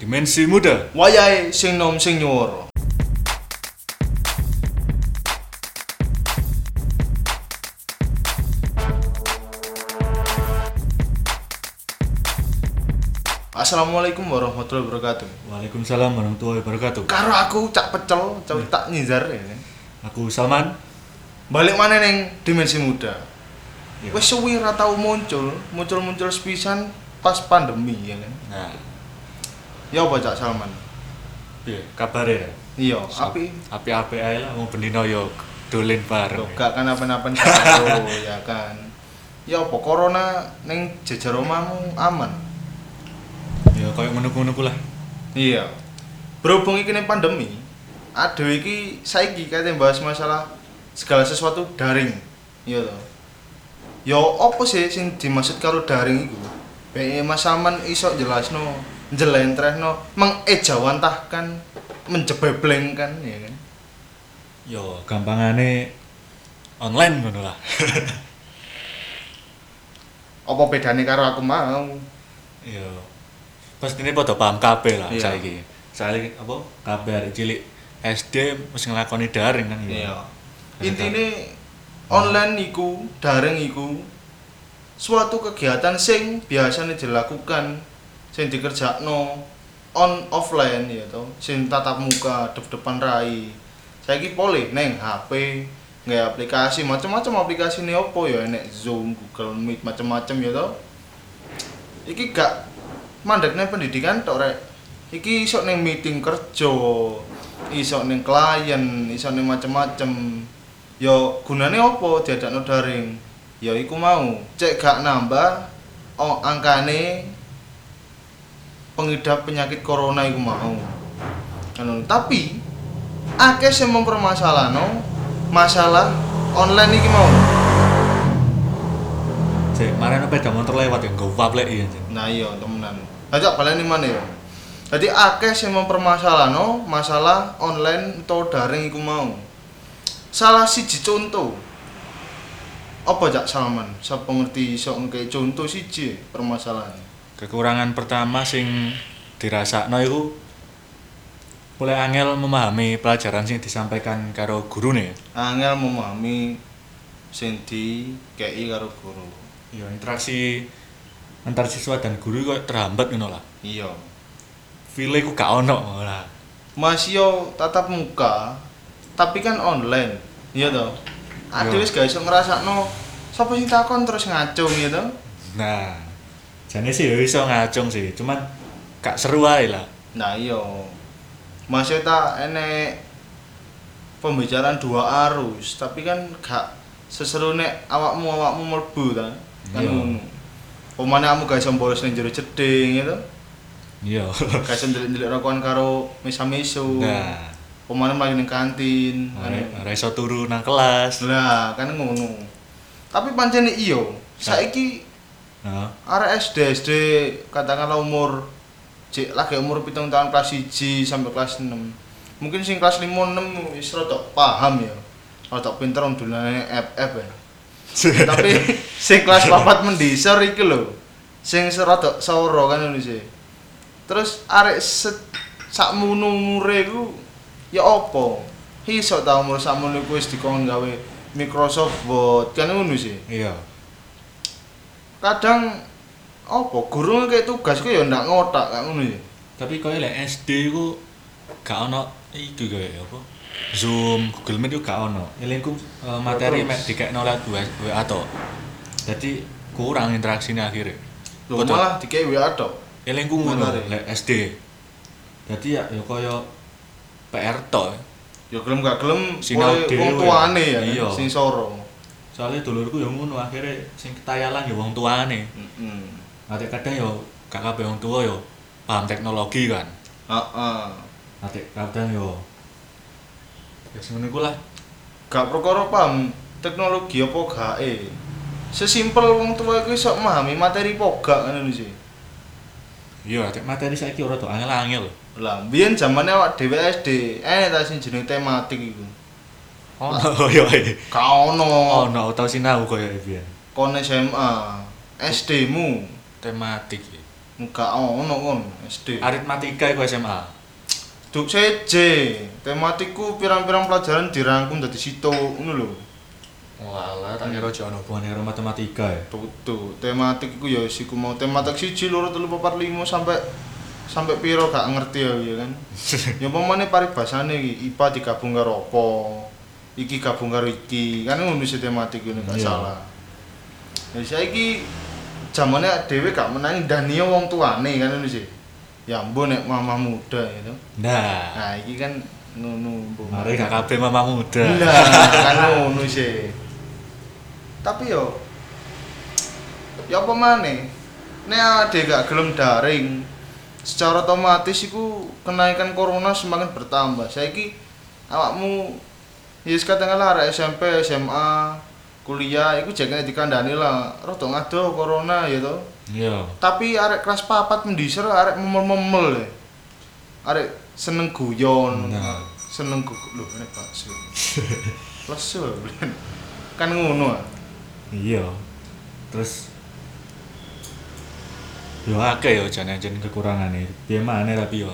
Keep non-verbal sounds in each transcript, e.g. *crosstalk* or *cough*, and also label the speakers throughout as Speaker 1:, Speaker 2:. Speaker 1: Dimensi muda.
Speaker 2: wayahe sing nom sing nyuwara. Assalamualaikum warahmatullahi wabarakatuh.
Speaker 1: Waalaikumsalam warahmatullahi wabarakatuh.
Speaker 2: Karo aku cak pecel, cak tak nyinzar ya.
Speaker 1: Aku Salman.
Speaker 2: Balik mana neng dimensi muda.
Speaker 1: Ya.
Speaker 2: Wes suwi ra tau muncul, muncul-muncul sepisan pas pandemi ya kan.
Speaker 1: Nah,
Speaker 2: Ya apa cak Salman?
Speaker 1: piye kabare ya?
Speaker 2: Iya, api
Speaker 1: Api-api ae lah wong bendina yo dolen bareng.
Speaker 2: Loh, gak kan apa-apa karo *laughs* ya kan. Ya apa corona ning jejer omahmu aman.
Speaker 1: Ya koyo ngono-ngono ku lah.
Speaker 2: Iya. Berhubung iki ning pandemi, aduh iki saiki kate bahas masalah segala sesuatu daring. Iya to. Ya apa sih sing dimaksud karo daring iku? Bae Mas Saman iso jelasno, jelentrehno, mengejawantahkan, menjebeblengkan ya kan.
Speaker 1: Yo Ya, gampangane online ngono lah. *laughs*
Speaker 2: Apa bedane karo aku mau?
Speaker 1: Yo pastine Ya, padha paham kabeh lah
Speaker 2: Iya.
Speaker 1: saiki. Saiki apa? Kabeh arek cilik SD mesti nglakoni daring kan yo.
Speaker 2: Iya. Intine online iku, daring iku suatu kegiatan sing biasanya dilakukan sing dikerjakno on offline ya to, sing tatap muka dep-depan rai. Saiki pole neng HP, nggak aplikasi macam-macam aplikasi ini opo ya enek Zoom, Google Meet macam-macam ya to. Iki gak mandeknya pendidikan tok rek. Iki iso ning meeting kerja, iso ning klien, iso ning macem-macem. Yo gunane apa diadakno daring? Ya iku mau, cek gak nambah oh, angkane pengidap penyakit corona iku mau. Anu, tapi akeh sing mempermasalahno masalah online iki mau.
Speaker 1: Cek marane sepeda motor lewat ya nggo wap lek iya. Cek.
Speaker 2: Nah iya temenan. Aja baleni mana ya? Jadi akeh sing mempermasalahno masalah online atau daring iku mau. Salah siji contoh. Apa Cak Salman? Sapa ngerti iso ngekei contoh siji permasalahan.
Speaker 1: kekurangan pertama sing dirasakno iku mulai angel memahami pelajaran sing disampaikan karo gurune
Speaker 2: Angel memahami sing dikei karo guru.
Speaker 1: ya interaksi antar siswa dan guru kok terhambat ngono lah
Speaker 2: Iya.
Speaker 1: file ku gak ono Nah, ngono lah
Speaker 2: Masih yo iya, tatap muka, tapi kan online. Iya toh. Aduh
Speaker 1: Iya.
Speaker 2: wis gak iso ngrasakno sapa sing takon terus ngacung ya toh.
Speaker 1: nah jane sih ya iso ngacung sih cuman gak seru ae lah
Speaker 2: Nah iya. Masih tak enek pembicaraan dua arus, tapi kan gak seseru nek awakmu awakmu mlebu ta. Kan
Speaker 1: Iya.
Speaker 2: ngono. Pemane kamu gak iso bolos ning jero jeding gitu.
Speaker 1: iya
Speaker 2: Gak iso ndelik-ndelik rokokan karo misa-misu.
Speaker 1: nah
Speaker 2: Pemane mlayu ning kantin. kan
Speaker 1: ora-
Speaker 2: ngono.
Speaker 1: ora iso turu nang kelas
Speaker 2: Lah, kan ngono. Tapi pancene iya. Saiki
Speaker 1: nah
Speaker 2: arek SD SD katakanlah umur cek lagi umur pitung tahun kelas 1 sampai kelas 6 mungkin sing kelas 5 6 wis rodok paham ya rodok pinter wong dunane FF ya tapi sing kelas 4 mendisor iki lho sing rodok soro kan ngono sih terus arek sakmono umure iku ya apa iso ta umur sakmono iku wis dikon gawe Microsoft Word kan ngono sih
Speaker 1: *laughs* iya
Speaker 2: kadang apa guru kayak tugas ku ya ndak ngotak kayak ngono ya.
Speaker 1: tapi kau lek SD ku gak ono itu kayak apa Zoom Google Meet itu gak ono elingku eh, materi
Speaker 2: Terus.
Speaker 1: mek dikekno lewat wa- WA to jadi kurang interaksinya akhirnya
Speaker 2: Lho
Speaker 1: Betul.
Speaker 2: malah dikei WA tok.
Speaker 1: elingku ngono
Speaker 2: Materi.
Speaker 1: lek SD jadi ya ya kaya PR to
Speaker 2: Ya gelem gak gelem
Speaker 1: Sinau
Speaker 2: woe
Speaker 1: dhewe.
Speaker 2: wong tuane ya
Speaker 1: Iya.
Speaker 2: sing soro.
Speaker 1: soalnya dulurku ya ngono akhirnya sing ketayalan ya wong tuane
Speaker 2: Heeh.
Speaker 1: nanti kadang ya gak kabeh wong tua ya paham teknologi kan
Speaker 2: Heeh.
Speaker 1: nanti kadang ya ya sebenarnya gue lah
Speaker 2: Gak perkara paham teknologi apa gae. Sesimpel wong tua iku iso memahami materi pogak kan, ngono lho sih.
Speaker 1: iya nanti materi saya kira tuh angel-angel
Speaker 2: Lah mbiyen zamane awak dhewe SD, eh ta sing jeneng tematik iku.
Speaker 1: *laughs* Oh, iya.
Speaker 2: Ka
Speaker 1: Oh,
Speaker 2: ono
Speaker 1: no, tau sinau koyo iki.
Speaker 2: kon SMA, SD mu.
Speaker 1: Tematik. ya.
Speaker 2: Enggak ono kon SD.
Speaker 1: Aritmatika iku SMA.
Speaker 2: Duk CJ, tematiku pirang-pirang pelajaran dirangkum dadi sitok ngono lho.
Speaker 1: Walah, tak kira aja ono hubungane karo matematika ya.
Speaker 2: Tutu, tematik iku ya isiku mau tematik siji loro telu papat limo sampai sampai piro gak ngerti ya ya
Speaker 1: *laughs*
Speaker 2: kan. ya pamane paribasane iki IPA digabung karo apa? Iki gabung karo iki. Kan ngono sih tematik ngono gak
Speaker 1: Iya.
Speaker 2: salah. Ya saiki jamane dhewe gak menangi dania wong tuane kan ngono sih. Ya ampun nek mamah muda gitu.
Speaker 1: Nah,
Speaker 2: Nah, iki kan ngono mbok.
Speaker 1: mari gak kabeh mama muda.
Speaker 2: Lah, kan ngono sih. Tapi yo ya apa maneh? Nek ade gak gelem daring, secara otomatis iku kenaikan corona semakin bertambah. Saiki awakmu ya wis katakanlah arek SMP, SMA, kuliah iku jek nek dikandani lah rada ngado corona ya to.
Speaker 1: Iya.
Speaker 2: Tapi arek kelas papat mendiser arek memel-memel ya. Arek seneng guyon.
Speaker 1: Nah.
Speaker 2: Seneng gu lho nek bakso. *laughs* Lesu ya, Blen. Kan ngono. ah.
Speaker 1: Iya. Terus Yo akeh yo jane-jane kekurangane. Piye maneh tapi yo.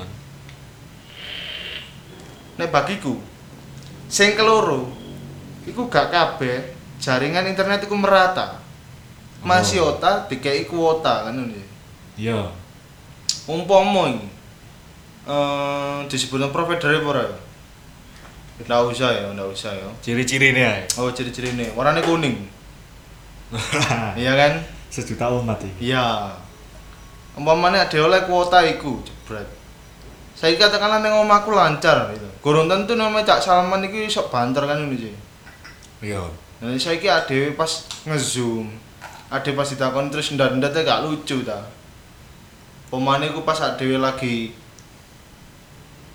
Speaker 2: Nek bagiku sing keloro iku gak kabeh jaringan internet iku merata. Masih
Speaker 1: Oh.
Speaker 2: otak dikei kuota kan ngono ya.
Speaker 1: Iya.
Speaker 2: umpama iki eh disebutnya provider apa ora? ya? Ndak usah ya, ndak usah ya.
Speaker 1: Ciri-cirine ae. *laughs*
Speaker 2: Oh, ciri-ciri ini, warnanya kuning.
Speaker 1: Wah,
Speaker 2: Iya kan?
Speaker 1: Sejuta umat iki.
Speaker 2: Iya. Umpamane ada oleh kuota iku, jebret. Saya katakanlah ning omahku lancar gitu. Gorong tentu namanya Cak Salman iki sok banter kan ngono sih.
Speaker 1: Iya.
Speaker 2: Nah, saya iki ade pas ngezoom. Ade pas ditakon terus ndandatnya gak lucu ta. Pemane ku pas adewe lagi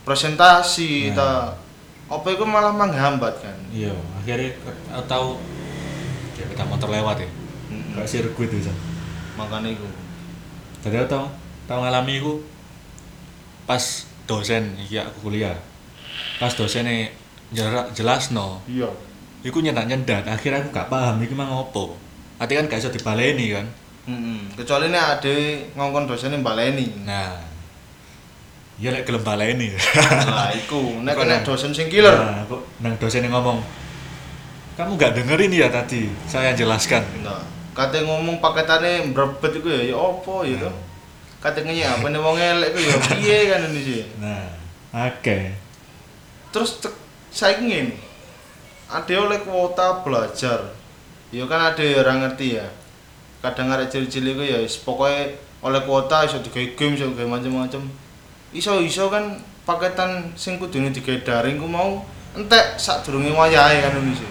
Speaker 2: presentasi ta. Apa iku malah menghambat kan.
Speaker 1: Iya, akhirnya aku tahu dia kita motor lewat ya.
Speaker 2: Mm-mm.
Speaker 1: Kayak sirkuit bisa.
Speaker 2: Makane iku.
Speaker 1: Tadi aku tahu tahu ngalami aku pas dosen iki aku kuliah. Pas dosennya jelas jelas no,
Speaker 2: Iya.
Speaker 1: iku nyendat nyendat. Akhirnya aku gak paham iki mang opo. Ati kan gak iso dibaleni kan.
Speaker 2: Mm-mm. Kecuali nek ade ngongkon dosennya baleni.
Speaker 1: Nah, iya lek gelem baleni.
Speaker 2: Nah, iku nek
Speaker 1: Kok
Speaker 2: kena
Speaker 1: nang-
Speaker 2: dosen sing killer.
Speaker 1: Nah, kok nang dosennya ngomong, kamu gak dengerin ya tadi saya jelaskan.
Speaker 2: Nah, kate ngomong paketane mbrebet iku ya ya apa ya to. Kate ngenyek apa nih wong elek iku ya piye kan ini sih.
Speaker 1: Nah, oke.
Speaker 2: Terus cek saiki ngene. Ade oleh kuota belajar. Ya kan ade ya ora ngerti ya. Kadang arek cilik-cilik iku ya wis pokoke oleh kuota iso digawe game iso digawe macam-macam. Iso-iso kan paketan sing kudune digawe daring ku mau entek sadurunge wayahe kan ini sih.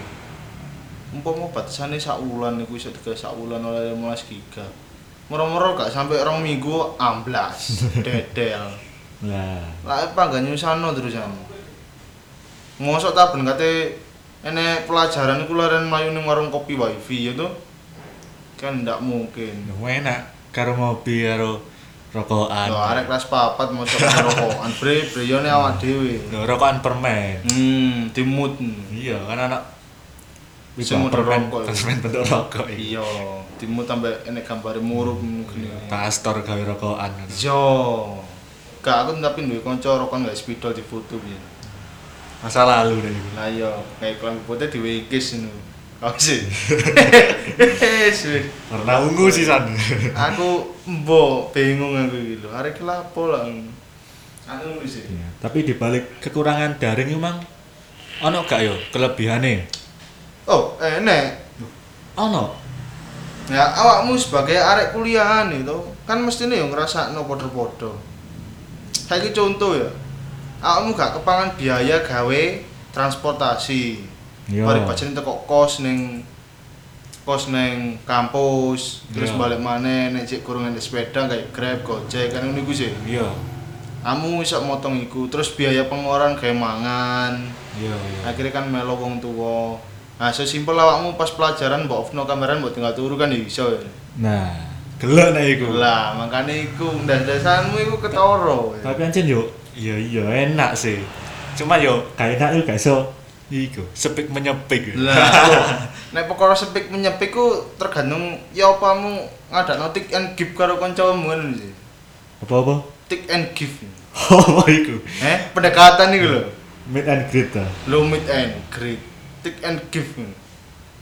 Speaker 2: umpama batasane sak wulan iku iso digawe sak wulan oleh 15 giga. Moro-moro gak sampai rong minggu amblas, dedel.
Speaker 1: Nah,
Speaker 2: Lah apa gak nyusano terusan. Mosok ta ben kate ene pelajaran iku leren mlayu ning warung kopi wifi ya to. Kan ndak mungkin.
Speaker 1: Lu enak karo ngopi karo rokokan.
Speaker 2: Lho arek kelas papat mosok rokokan bre bre yo nek awak dhewe.
Speaker 1: Lho, rokokan permen.
Speaker 2: Hmm, dimut.
Speaker 1: Iya, kan anak Wih,
Speaker 2: Semua
Speaker 1: permen,
Speaker 2: rokok.
Speaker 1: permen bentuk rokok iya.
Speaker 2: Iya, dimut sampe ene gambare murup ngene.
Speaker 1: Tak astor gawe rokokan.
Speaker 2: Yo. Gak aku tapi duwe kanca rokon gak spidol di foto biyen.
Speaker 1: Masa lalu deh iya. itu.
Speaker 2: Lah yo, kayak iklan foto diwikis ngono. Kau sih. Wis.
Speaker 1: Warna ungu sih san.
Speaker 2: aku mbok bingung aku iki lho arek iki lapo lah aku nulis sih
Speaker 1: Iya, Tapi dibalik kekurangan daring emang ono gak yo kelebihane?
Speaker 2: oh enek
Speaker 1: Ono.
Speaker 2: ya awakmu sebagai arek kuliahan itu kan mestine yo ngrasakno padha-padha saiki contoh ya awakmu gak kepangan biaya gawe transportasi
Speaker 1: Yo.
Speaker 2: mari bacane teko kos ning kos neng kampus terus
Speaker 1: Iya.
Speaker 2: balik maneh nek cek kurungan sepeda kayak grab gojek kan ngono iku sih
Speaker 1: Iya.
Speaker 2: kamu iso motong iku terus biaya pengeluaran kayak mangan
Speaker 1: Iya, iya.
Speaker 2: akhirnya kan melo wong tua nah sesimpel awakmu pas pelajaran mbok ofno kameran mbok tinggal turu kan ya iso ya
Speaker 1: Nah, gelek nek iku.
Speaker 2: lah makanya iku ndas-ndasanmu iku ketoro ya.
Speaker 1: Tapi anjir yo, iya iya enak sih. Cuma yo gak enak yo gak iso iku, sepik menyepik.
Speaker 2: lah kok, nek perkara sepik menyepik ku tergantung ya apa mu ngadak notik and gip karo kancamu ngono sih
Speaker 1: *laughs* Apa-apa?
Speaker 2: take and give
Speaker 1: Apa iku?
Speaker 2: eh pendekatan nih lho
Speaker 1: Meet and greet ta.
Speaker 2: lo meet and greet take and give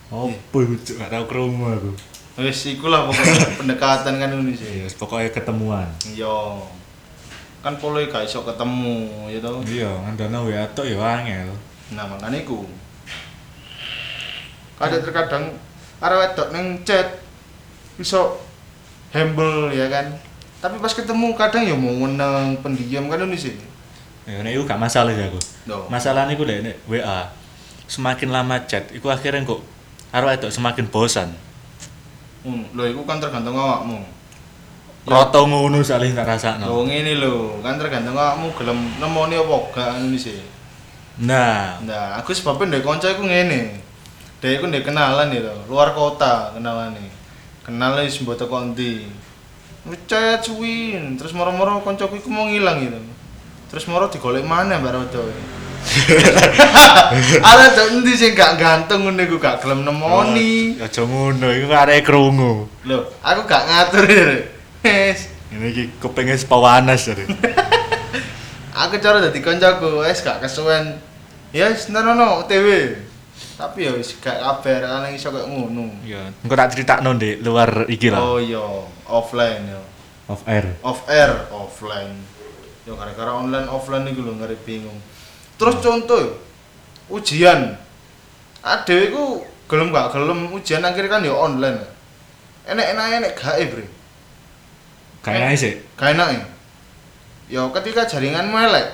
Speaker 1: Apa iku Cuk? gak tau krungu aku.
Speaker 2: wis ikulah pokoknya pendekatan kan ini sih
Speaker 1: Ya wis, pokoknya ketemuan.
Speaker 2: yo kan polo gak iso ketemu ya tau
Speaker 1: Iya, ngendono WA tok ya angel.
Speaker 2: nah makanya iku kadang terkadang arah wedok neng chat iso humble ya kan tapi pas ketemu kadang ya mau meneng pendiam kan ini sih
Speaker 1: Ya nek iku gak masalah sih aku.
Speaker 2: No.
Speaker 1: Masalahnya iku lek nek WA semakin lama chat, iku akhirnya kok arwah itu semakin bosan.
Speaker 2: Hmm, lho iku kan tergantung awakmu
Speaker 1: Roto ngono salih tak rasakno.
Speaker 2: Lho ngene lho, kan tergantung awakmu gelem nemoni apa gak ngono sih.
Speaker 1: Nah,
Speaker 2: Nah, aku sebabnya ndek kanca iku ngene. Dek iku ndek kenalan ya lho, luar kota kenalane. Kenal wis mbok teko ndi. Ngechat suwin, terus moro-moro kancaku iku mau ngilang gitu. Terus moro digolek mana mbak Rodo Ada tuh endi sih gak ganteng ngono iku gak gelem nemoni.
Speaker 1: Oh, aja ngono, iku arek krungu.
Speaker 2: Lho, aku gak ngatur ya. Rek. Wes.
Speaker 1: Ini iki kupinge sepawanas jare.
Speaker 2: aku cara dadi koncoku wis gak kesuwen ya wis nerono TV tapi ya wis gak kabar ana iso koyo ngono
Speaker 1: Iya, engko tak critakno ndek luar iki lah.
Speaker 2: oh iya offline ya
Speaker 1: Off air.
Speaker 2: off air offline ya gara-gara online offline iku lho ngeri bingung terus contoh ya, ujian adewe iku gelem gak gelem ujian akhirnya kan ya online enak-enak enak gak e bre
Speaker 1: Kayaknya sih.
Speaker 2: gak enak ya ya ketika jaringan melek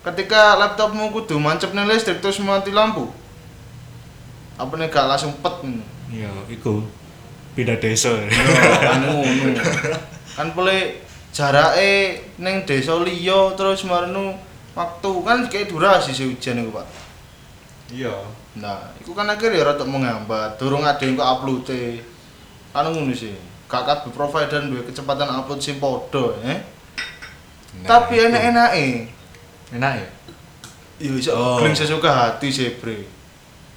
Speaker 2: ketika laptopmu kudu mancep nih listrik terus mati lampu apa nih gak langsung pet nih
Speaker 1: Iya, iku pindah desa.
Speaker 2: kan ngono Oh, kan boleh jarake neng desa liya terus marnu waktu kan kayak durasi sih hujan itu pak
Speaker 1: Iya.
Speaker 2: nah itu kan akhirnya ya rada menghambat durung ada yang kok upload kan ngono sih gak kabeh provider duwe kecepatan upload sing padha eh tapi enak-enake
Speaker 1: Enak ya?
Speaker 2: Iya iso
Speaker 1: Oh.
Speaker 2: oh. sesuka hati sih bre.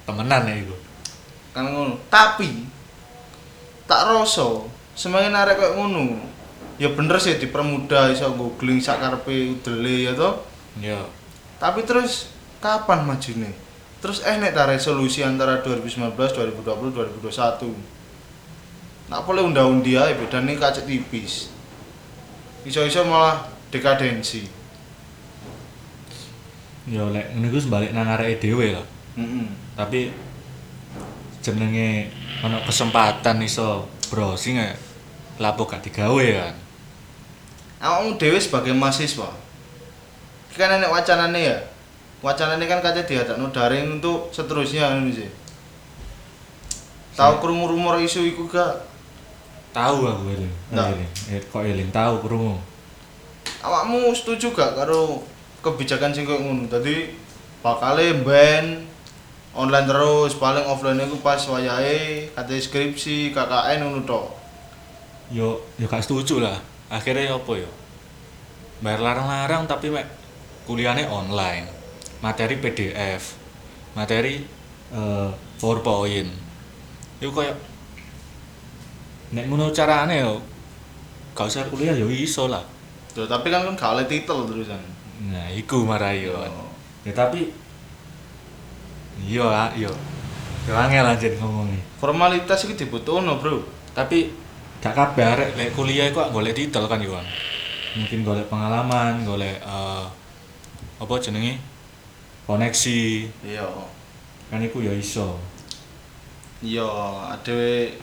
Speaker 1: Temenan ya iku.
Speaker 2: Kan ngono. Tapi tak rasa semakin arek koyo ngono. Ya bener sih dipermudah iso nggo gling sak karepe udele ya to.
Speaker 1: Iya.
Speaker 2: Tapi terus kapan majune? Terus eh nek ta resolusi antara 2019, 2020, 2021. Nak boleh undang-undi ae bedane kacet tipis. Iso-iso malah dekadensi.
Speaker 1: Ya lek ngene iku sebalik nang areke dhewe lah.
Speaker 2: Heeh.
Speaker 1: Tapi jenenge ana kesempatan iso browsing ya. Lapo gak digawe ya kan.
Speaker 2: awakmu dhewe sebagai mahasiswa iki kan enek wacanane ya wacanane kan katanya diadakno daring untuk seterusnya ngono sih tahu krungu rumor isu iku gak
Speaker 1: Tahu aku eling.
Speaker 2: Nah.
Speaker 1: Eling. Eh, Kok eling tahu krungu.
Speaker 2: awakmu setuju gak karo kebijakan sing koyo ngono tadi bakale ben online terus paling offline iku pas wayahe katanya skripsi KKN ngono tok
Speaker 1: Yo yo gak setuju lah. Akhirnya ya apa yo? Bayar larang-larang tapi mek kuliahnya online. Materi PDF. Materi eh, PowerPoint. Iku koyo nek ngono carane yo gak usah kuliah yo iso lah.
Speaker 2: Tuh, tapi kan kan gak oleh titel terusan
Speaker 1: Nah, iku marai yo.
Speaker 2: Oh.
Speaker 1: Ya tapi yo ah, yo. Yo angel anjir ngomongnya.
Speaker 2: formalitas iki dibutuhno bro
Speaker 1: Tapi gak kabar lek kuliah iku gak golek titel kan Iwan. Mungkin golek pengalaman, golek eh, apa jenenge? Koneksi
Speaker 2: iya
Speaker 1: kan iku ya iso.
Speaker 2: Iya, adewe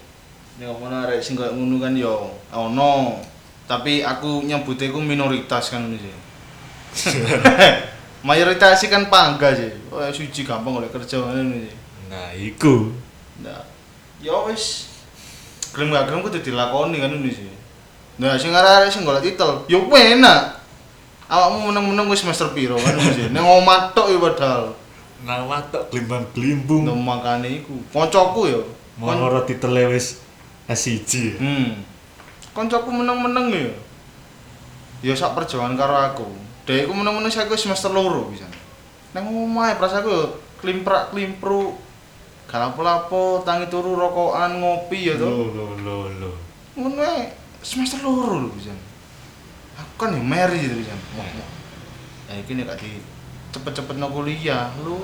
Speaker 2: nek ngono arek sing koyo ngono kan ya ono. Tapi aku nyebute ku minoritas kan ngono sih. Mayoritas sih kan pangga sih. Oh, suci gampang oleh kerja ngono sih.
Speaker 1: Nah, iku.
Speaker 2: Nah, ya wis. Gelem gak gelem kudu dilakoni kan ngono sih. Nah, sing arek-arek sing golek titel, yo enak. Awakmu meneng-meneng wis semester piro kan ngono sih. Nang omah tok ya padahal.
Speaker 1: Nah, watok glimbang-glimbung.
Speaker 2: Nah, makane iku. Kancaku ya. Kon-
Speaker 1: Moro titele wis S1.
Speaker 2: Hmm. Koncoku meneng-meneng ya. Ya sak perjuangan karo aku. Dek iku meneng-meneng saiki wis semester loro bisa. Nang omahe ya, prasaku yo klimprak-klimpru. Gak lapo-lapo, tangi turu rokokan, ngopi ya
Speaker 1: Lo
Speaker 2: to.
Speaker 1: lo lo lo.
Speaker 2: Ngono ae semester loro lho bisa. kan ya meri gitu kan
Speaker 1: Nah.
Speaker 2: ya iki nek gak di cepet-cepet no kuliah lu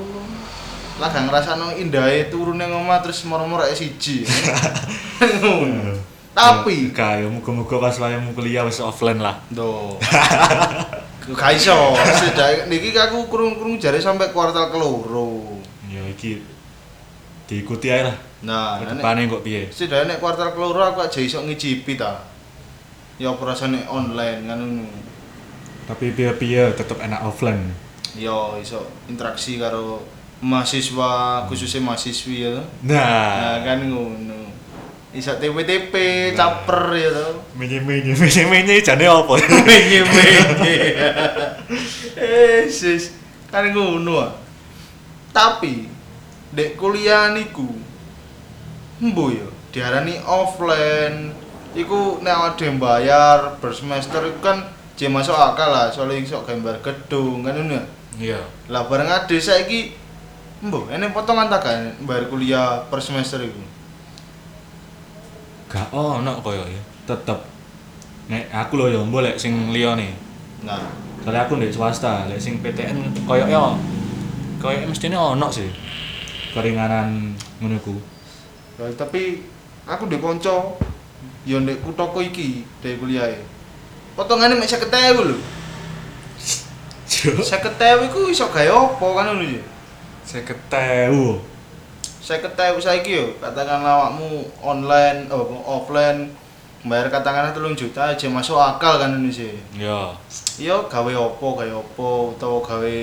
Speaker 2: lah gak ngerasa no indahe turunnya ngomah terus moro-moro kayak siji Ngono. tapi
Speaker 1: Gak, ya muga-muga pas wayahmu kuliah wis offline lah.
Speaker 2: *laughs* do gak iso sedaya niki aku kurung-kurung jari sampai kuartal keloro
Speaker 1: Ya iki diikuti ae lah.
Speaker 2: nah nek-
Speaker 1: Kepane kok piye?
Speaker 2: setidaknya nek kuartal keloro aku aja iso ngicipi ta ya perasaan online kan ngono
Speaker 1: Tapi piye-piye tetep enak offline.
Speaker 2: ya iso interaksi karo mahasiswa khususnya mahasiswi ya toh.
Speaker 1: Nah,
Speaker 2: nah kan ngono iso TPTP caper ya to
Speaker 1: menye-menye, *laughs* menye-menye jane apa? *laughs*
Speaker 2: menye menye eh sis kan ngono ah. tapi dek kuliah niku mbo ya diarani offline iku nek awake dhewe bayar per semester iku kan jek masuk akal lah soalnya iso gambar gedung kan ngono ya.
Speaker 1: Iya.
Speaker 2: lah bareng ade saiki mbo ene potongan tak gak bayar kuliah per semester iku
Speaker 1: Gak ono koyo ya. Tetep nek aku lho ya mbo lek sing liyane.
Speaker 2: nah
Speaker 1: Soale aku ndek swasta, lek sing PTN koyo yo koyo ya. mestine ono sih. Keringanan ngono ku.
Speaker 2: Lah, tapi aku ndek kanca ya ndek kuthaku iki dhewe kuliahe. Potongane mek 50.000 lho. 50.000 iku iso gawe apa kan ngono ya.
Speaker 1: Seketewu.
Speaker 2: 50.000 saiki yo katakanlah awakmu online oh offline bayar katakanlah 3 juta aja masuk akal kan ngono sih.
Speaker 1: Ya.
Speaker 2: Yo gawe apa gawe apa utawa gawe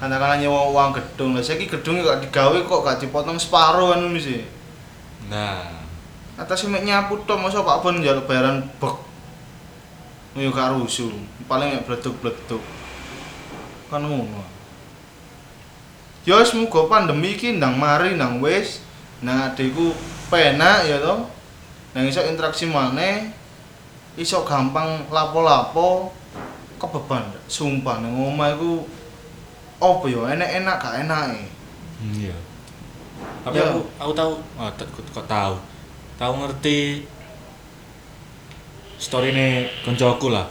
Speaker 2: katakanlah nyewa uang gedung lah saiki gedungnya gak digawe kok gak dipotong separuh kan ngono sih.
Speaker 1: Nah,
Speaker 2: atas mek nyapu tok masa Pak Bon njaluk bayaran bek. Yo gak rusuh, paling mek bleduk-bleduk. Kan ngono. Yo wis muga pandemi iki ndang mari ndang wis nang adekku penak ya to. Nang iso interaksi maneh iso gampang lapo-lapo kebeban sumpah nang omah iku apa yo enak-enak gak enake.
Speaker 1: Hmm, Iya. Tapi
Speaker 2: Iya.
Speaker 1: aku aku tahu oh, t- kok, kok tahu. Tahu ngerti story ini koncoku lah.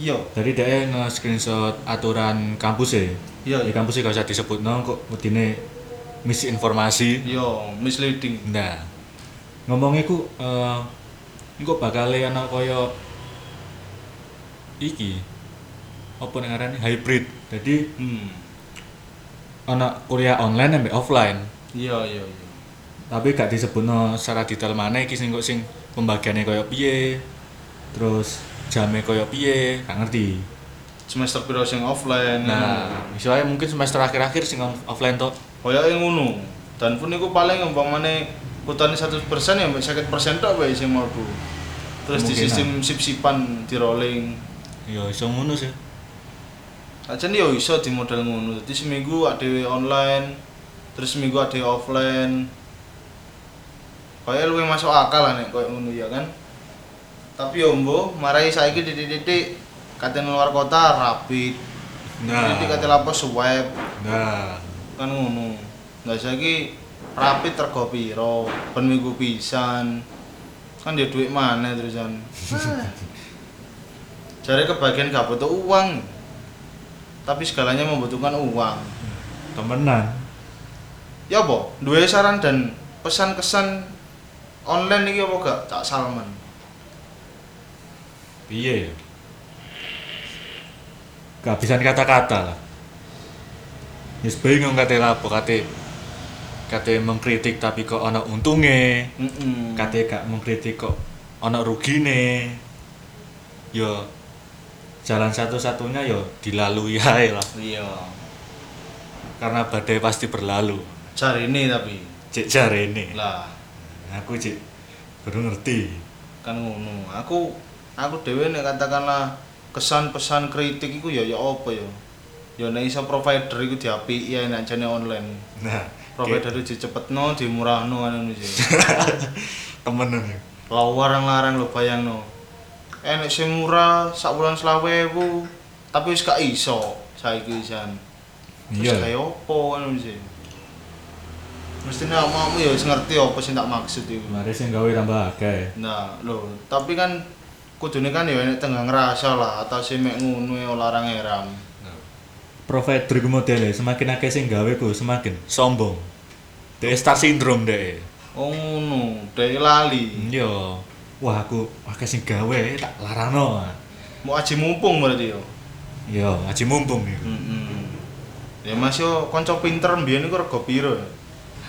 Speaker 2: Iya,
Speaker 1: Dari dia nge-screenshot aturan kampus ya.
Speaker 2: Iya,
Speaker 1: Di
Speaker 2: iya.
Speaker 1: kampus sih gak usah disebut no, kok mutine misinformasi.
Speaker 2: yo misleading.
Speaker 1: Nah, ngomongnya ku, eh ini kok bakal ana koyo iki apa nek ngarani hybrid. Jadi
Speaker 2: Hmm.
Speaker 1: ana kuliah online ambek offline.
Speaker 2: Iya, iya, iya.
Speaker 1: tapi gak disebutno secara detail mana iki sing kok sing pembagiannya koyo piye terus jamnya koyo piye gak ngerti
Speaker 2: semester piro sing offline
Speaker 1: nah misalnya mungkin semester akhir-akhir sing on- offline toh
Speaker 2: koyoke ngono dan pun niku paling umpamane kutane 100% ya mbek 50% tok wae sing mlebu terus di
Speaker 1: Kemungkinan.
Speaker 2: sistem sip-sipan di rolling
Speaker 1: ya iso ngono sih
Speaker 2: aja nih yo iso di model ngono jadi seminggu ada online terus seminggu ada offline kaya luwih masuk akal lah nek koyo ngono ya kan tapi yo mbo marai saiki titik-titik katen luar kota rapid
Speaker 1: nah
Speaker 2: titik katen lapo swab
Speaker 1: nah
Speaker 2: kan ngono nggak saiki rapi tergo piro ben minggu pisan kan dia duit mana terusan cari kebagian gak butuh uang tapi segalanya membutuhkan uang
Speaker 1: temenan
Speaker 2: ya apa dua saran dan pesan kesan online ini apa gak Cak Salman
Speaker 1: piye ya kehabisan kata-kata lah ya sebaik ngomong kate lapo kate kate mengkritik tapi kok ana untungnya
Speaker 2: Mm-mm.
Speaker 1: kate gak mengkritik kok ana rugine yo jalan satu-satunya yo dilalui *laughs* ae lah
Speaker 2: iya
Speaker 1: karena badai pasti berlalu
Speaker 2: cari ini tapi
Speaker 1: cek jarene Nah,
Speaker 2: lah
Speaker 1: aku cek baru ngerti
Speaker 2: kan ngono aku aku dhewe nek katakanlah kesan pesan kritik iku ya ya apa ya ya nek iso provider iku diapiki ya nek jane online
Speaker 1: nah kayak
Speaker 2: provider itu dicepetno dimurahno kan ngono sih
Speaker 1: *laughs* temen nih
Speaker 2: larang-larang lo bayangno enek sing murah sak wulan 20.000 tapi wis gak iso saiki isan
Speaker 1: iya
Speaker 2: terus kaya apa kan ngono sih mestinya mau ya wis ngerti apa sing tak maksud iku
Speaker 1: kemarin sing gawe tambah akeh
Speaker 2: Nah, loh, tapi kan kudune kan ya enek tengah ngerasa lah atau sih mek ngono ya larang eram
Speaker 3: provider ku modele e, semakin akeh sing gawe ku semakin
Speaker 1: sombong deh star syndrome deh
Speaker 2: oh ngono dhewe
Speaker 3: Hmm.
Speaker 2: lali
Speaker 1: yo
Speaker 3: wah aku akeh sing gawe tak larangno
Speaker 2: mau aji mumpung berarti yo
Speaker 3: yo
Speaker 1: ngaji mumpung ya
Speaker 2: heeh ya mas yo kanca pinter mbiyen iku rego piro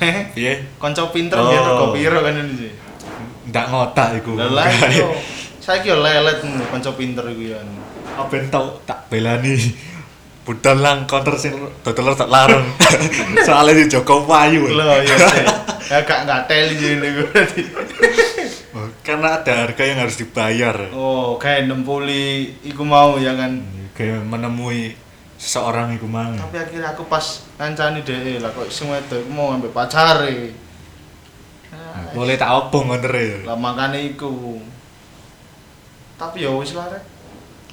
Speaker 2: Hehe.
Speaker 1: iya
Speaker 2: kanca pinter mbiyen
Speaker 1: Oh.
Speaker 2: rego piro kan ini sih
Speaker 1: ndak ngotak iku
Speaker 2: lelah yo
Speaker 1: *laughs*
Speaker 2: saiki yo lelet ngono, kanca pinter iku ya
Speaker 1: ben tau tak belani budal lang counter sing dodoler tak larang soalnya di Joko Wayu
Speaker 2: lho ya sih ya gak gak teli jadi iku berarti
Speaker 1: Oh, karena ada harga yang harus dibayar
Speaker 2: oh kayak nempuli iku mau ya kan
Speaker 1: kayak menemui seseorang iku mang
Speaker 2: tapi akhirnya aku pas ngancani deh lah kok semua itu aku mau ambil pacar eh.
Speaker 1: Nah, boleh tak opong ngono ya
Speaker 2: lah makanya iku tapi ya wis lah rek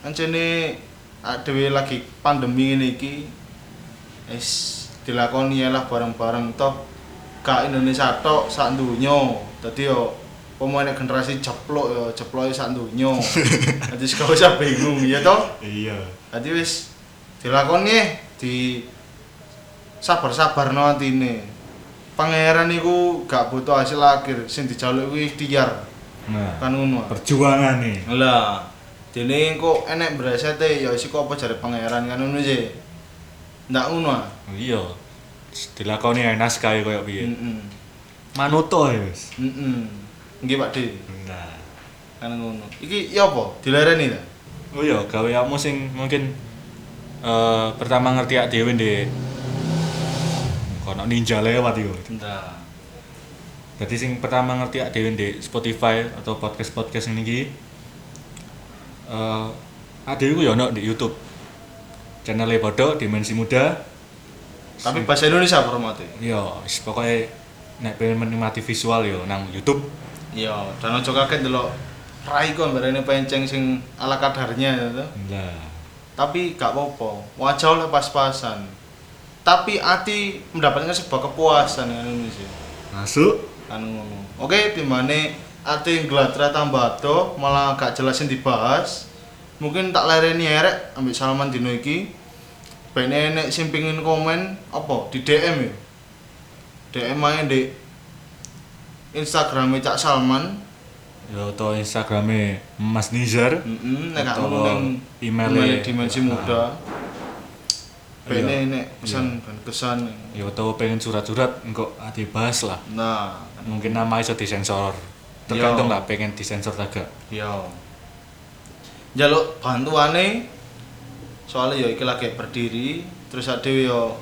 Speaker 2: ngancani adewe lagi pandemi ini iki is dilakoni ya lah bareng-bareng toh gak Indonesia tok sak dunyo dadi yo pemain generasi jeplok yo jeploke sak dunyo dadi gak usah bingung ya toh
Speaker 1: iya
Speaker 2: Dadi wis dilakoni eh, di sabar-sabar no atine. Pangeran iku gak butuh hasil akhir, sing dijaluk kuwi ikhtiar.
Speaker 3: nah
Speaker 2: Kan ngono.
Speaker 3: perjuangan nih
Speaker 2: Lah, dene kok enek bresete ya isi kok apa jare pangeran kan ngono sih. Ndak ngono. ah.
Speaker 1: iya dilakoni enak sekali kayak piye
Speaker 2: Heeh.
Speaker 3: manuto ya wis
Speaker 2: Heeh. Nggih Pak De,
Speaker 1: nah
Speaker 2: kan ngono. Iki ya apa? Dilereni ta?
Speaker 1: oh iya gaweanmu sing mungkin eh, pertama ngerti ak dhewe ndek kono ninja lewat yo
Speaker 2: Ndak.
Speaker 1: Jadi sing pertama ngerti ak dhewe ndek Spotify atau podcast-podcast ini iki. Eh uh, ku yo ono di YouTube. Channelnya bodoh Dimensi Muda.
Speaker 2: Tapi bahasa Indonesia formate.
Speaker 1: Yo, Iya, wis pokoknya nek pengen menikmati visual yo nang YouTube.
Speaker 2: Iya, dan ojo kaget delok rai kon barene penceng sing ala kadarnya ya toh.
Speaker 1: Lah,
Speaker 2: tapi gak apa-apa wajah oleh pas-pasan tapi hati mendapatkan sebuah kepuasan kan ngono sih
Speaker 1: masuk.
Speaker 2: kan ngono oke dimana hati gelatra tambah do malah gak jelasin dibahas mungkin tak lereni erek ambil Salman dino iki ben enek sing pengin komen apa di DM ya DM aja di Instagramnya Cak Salman
Speaker 1: Yo atau Instagramnya Mas Nizar.
Speaker 2: Heeh, nek
Speaker 1: Atau
Speaker 2: kamu nang
Speaker 1: email-e. Nah.
Speaker 2: email dimensi muda.
Speaker 1: Iya.
Speaker 2: Bene nek pesan dan kesan.
Speaker 1: Yo atau pengen curhat-curhat engko ah, dibahas lah.
Speaker 2: Nah,
Speaker 1: Mungkin nama iso disensor. Tergantung
Speaker 2: Yo.
Speaker 1: lah pengen disensor ta gak.
Speaker 2: yo. Jaluk iya. bantuane soalnya yo iki lagi berdiri terus ada yo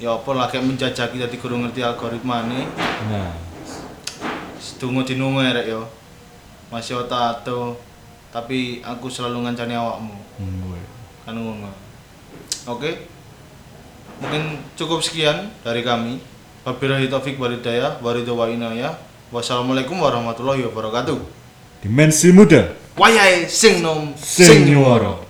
Speaker 2: ya apa lagi menjajaki tadi kurang ngerti algoritmane
Speaker 1: Nah,
Speaker 2: sedungo dinungo ya rek yo masih otato tapi aku selalu ngancani awakmu
Speaker 1: ngono.
Speaker 2: kan ngono. Oke. Mungkin cukup sekian dari kami. Wabillahi taufik wal hidayah wa ridho wa inayah. Wassalamualaikum warahmatullahi wabarakatuh.
Speaker 3: dimensi muda
Speaker 2: Wayahe sing nom
Speaker 3: sing nyuwara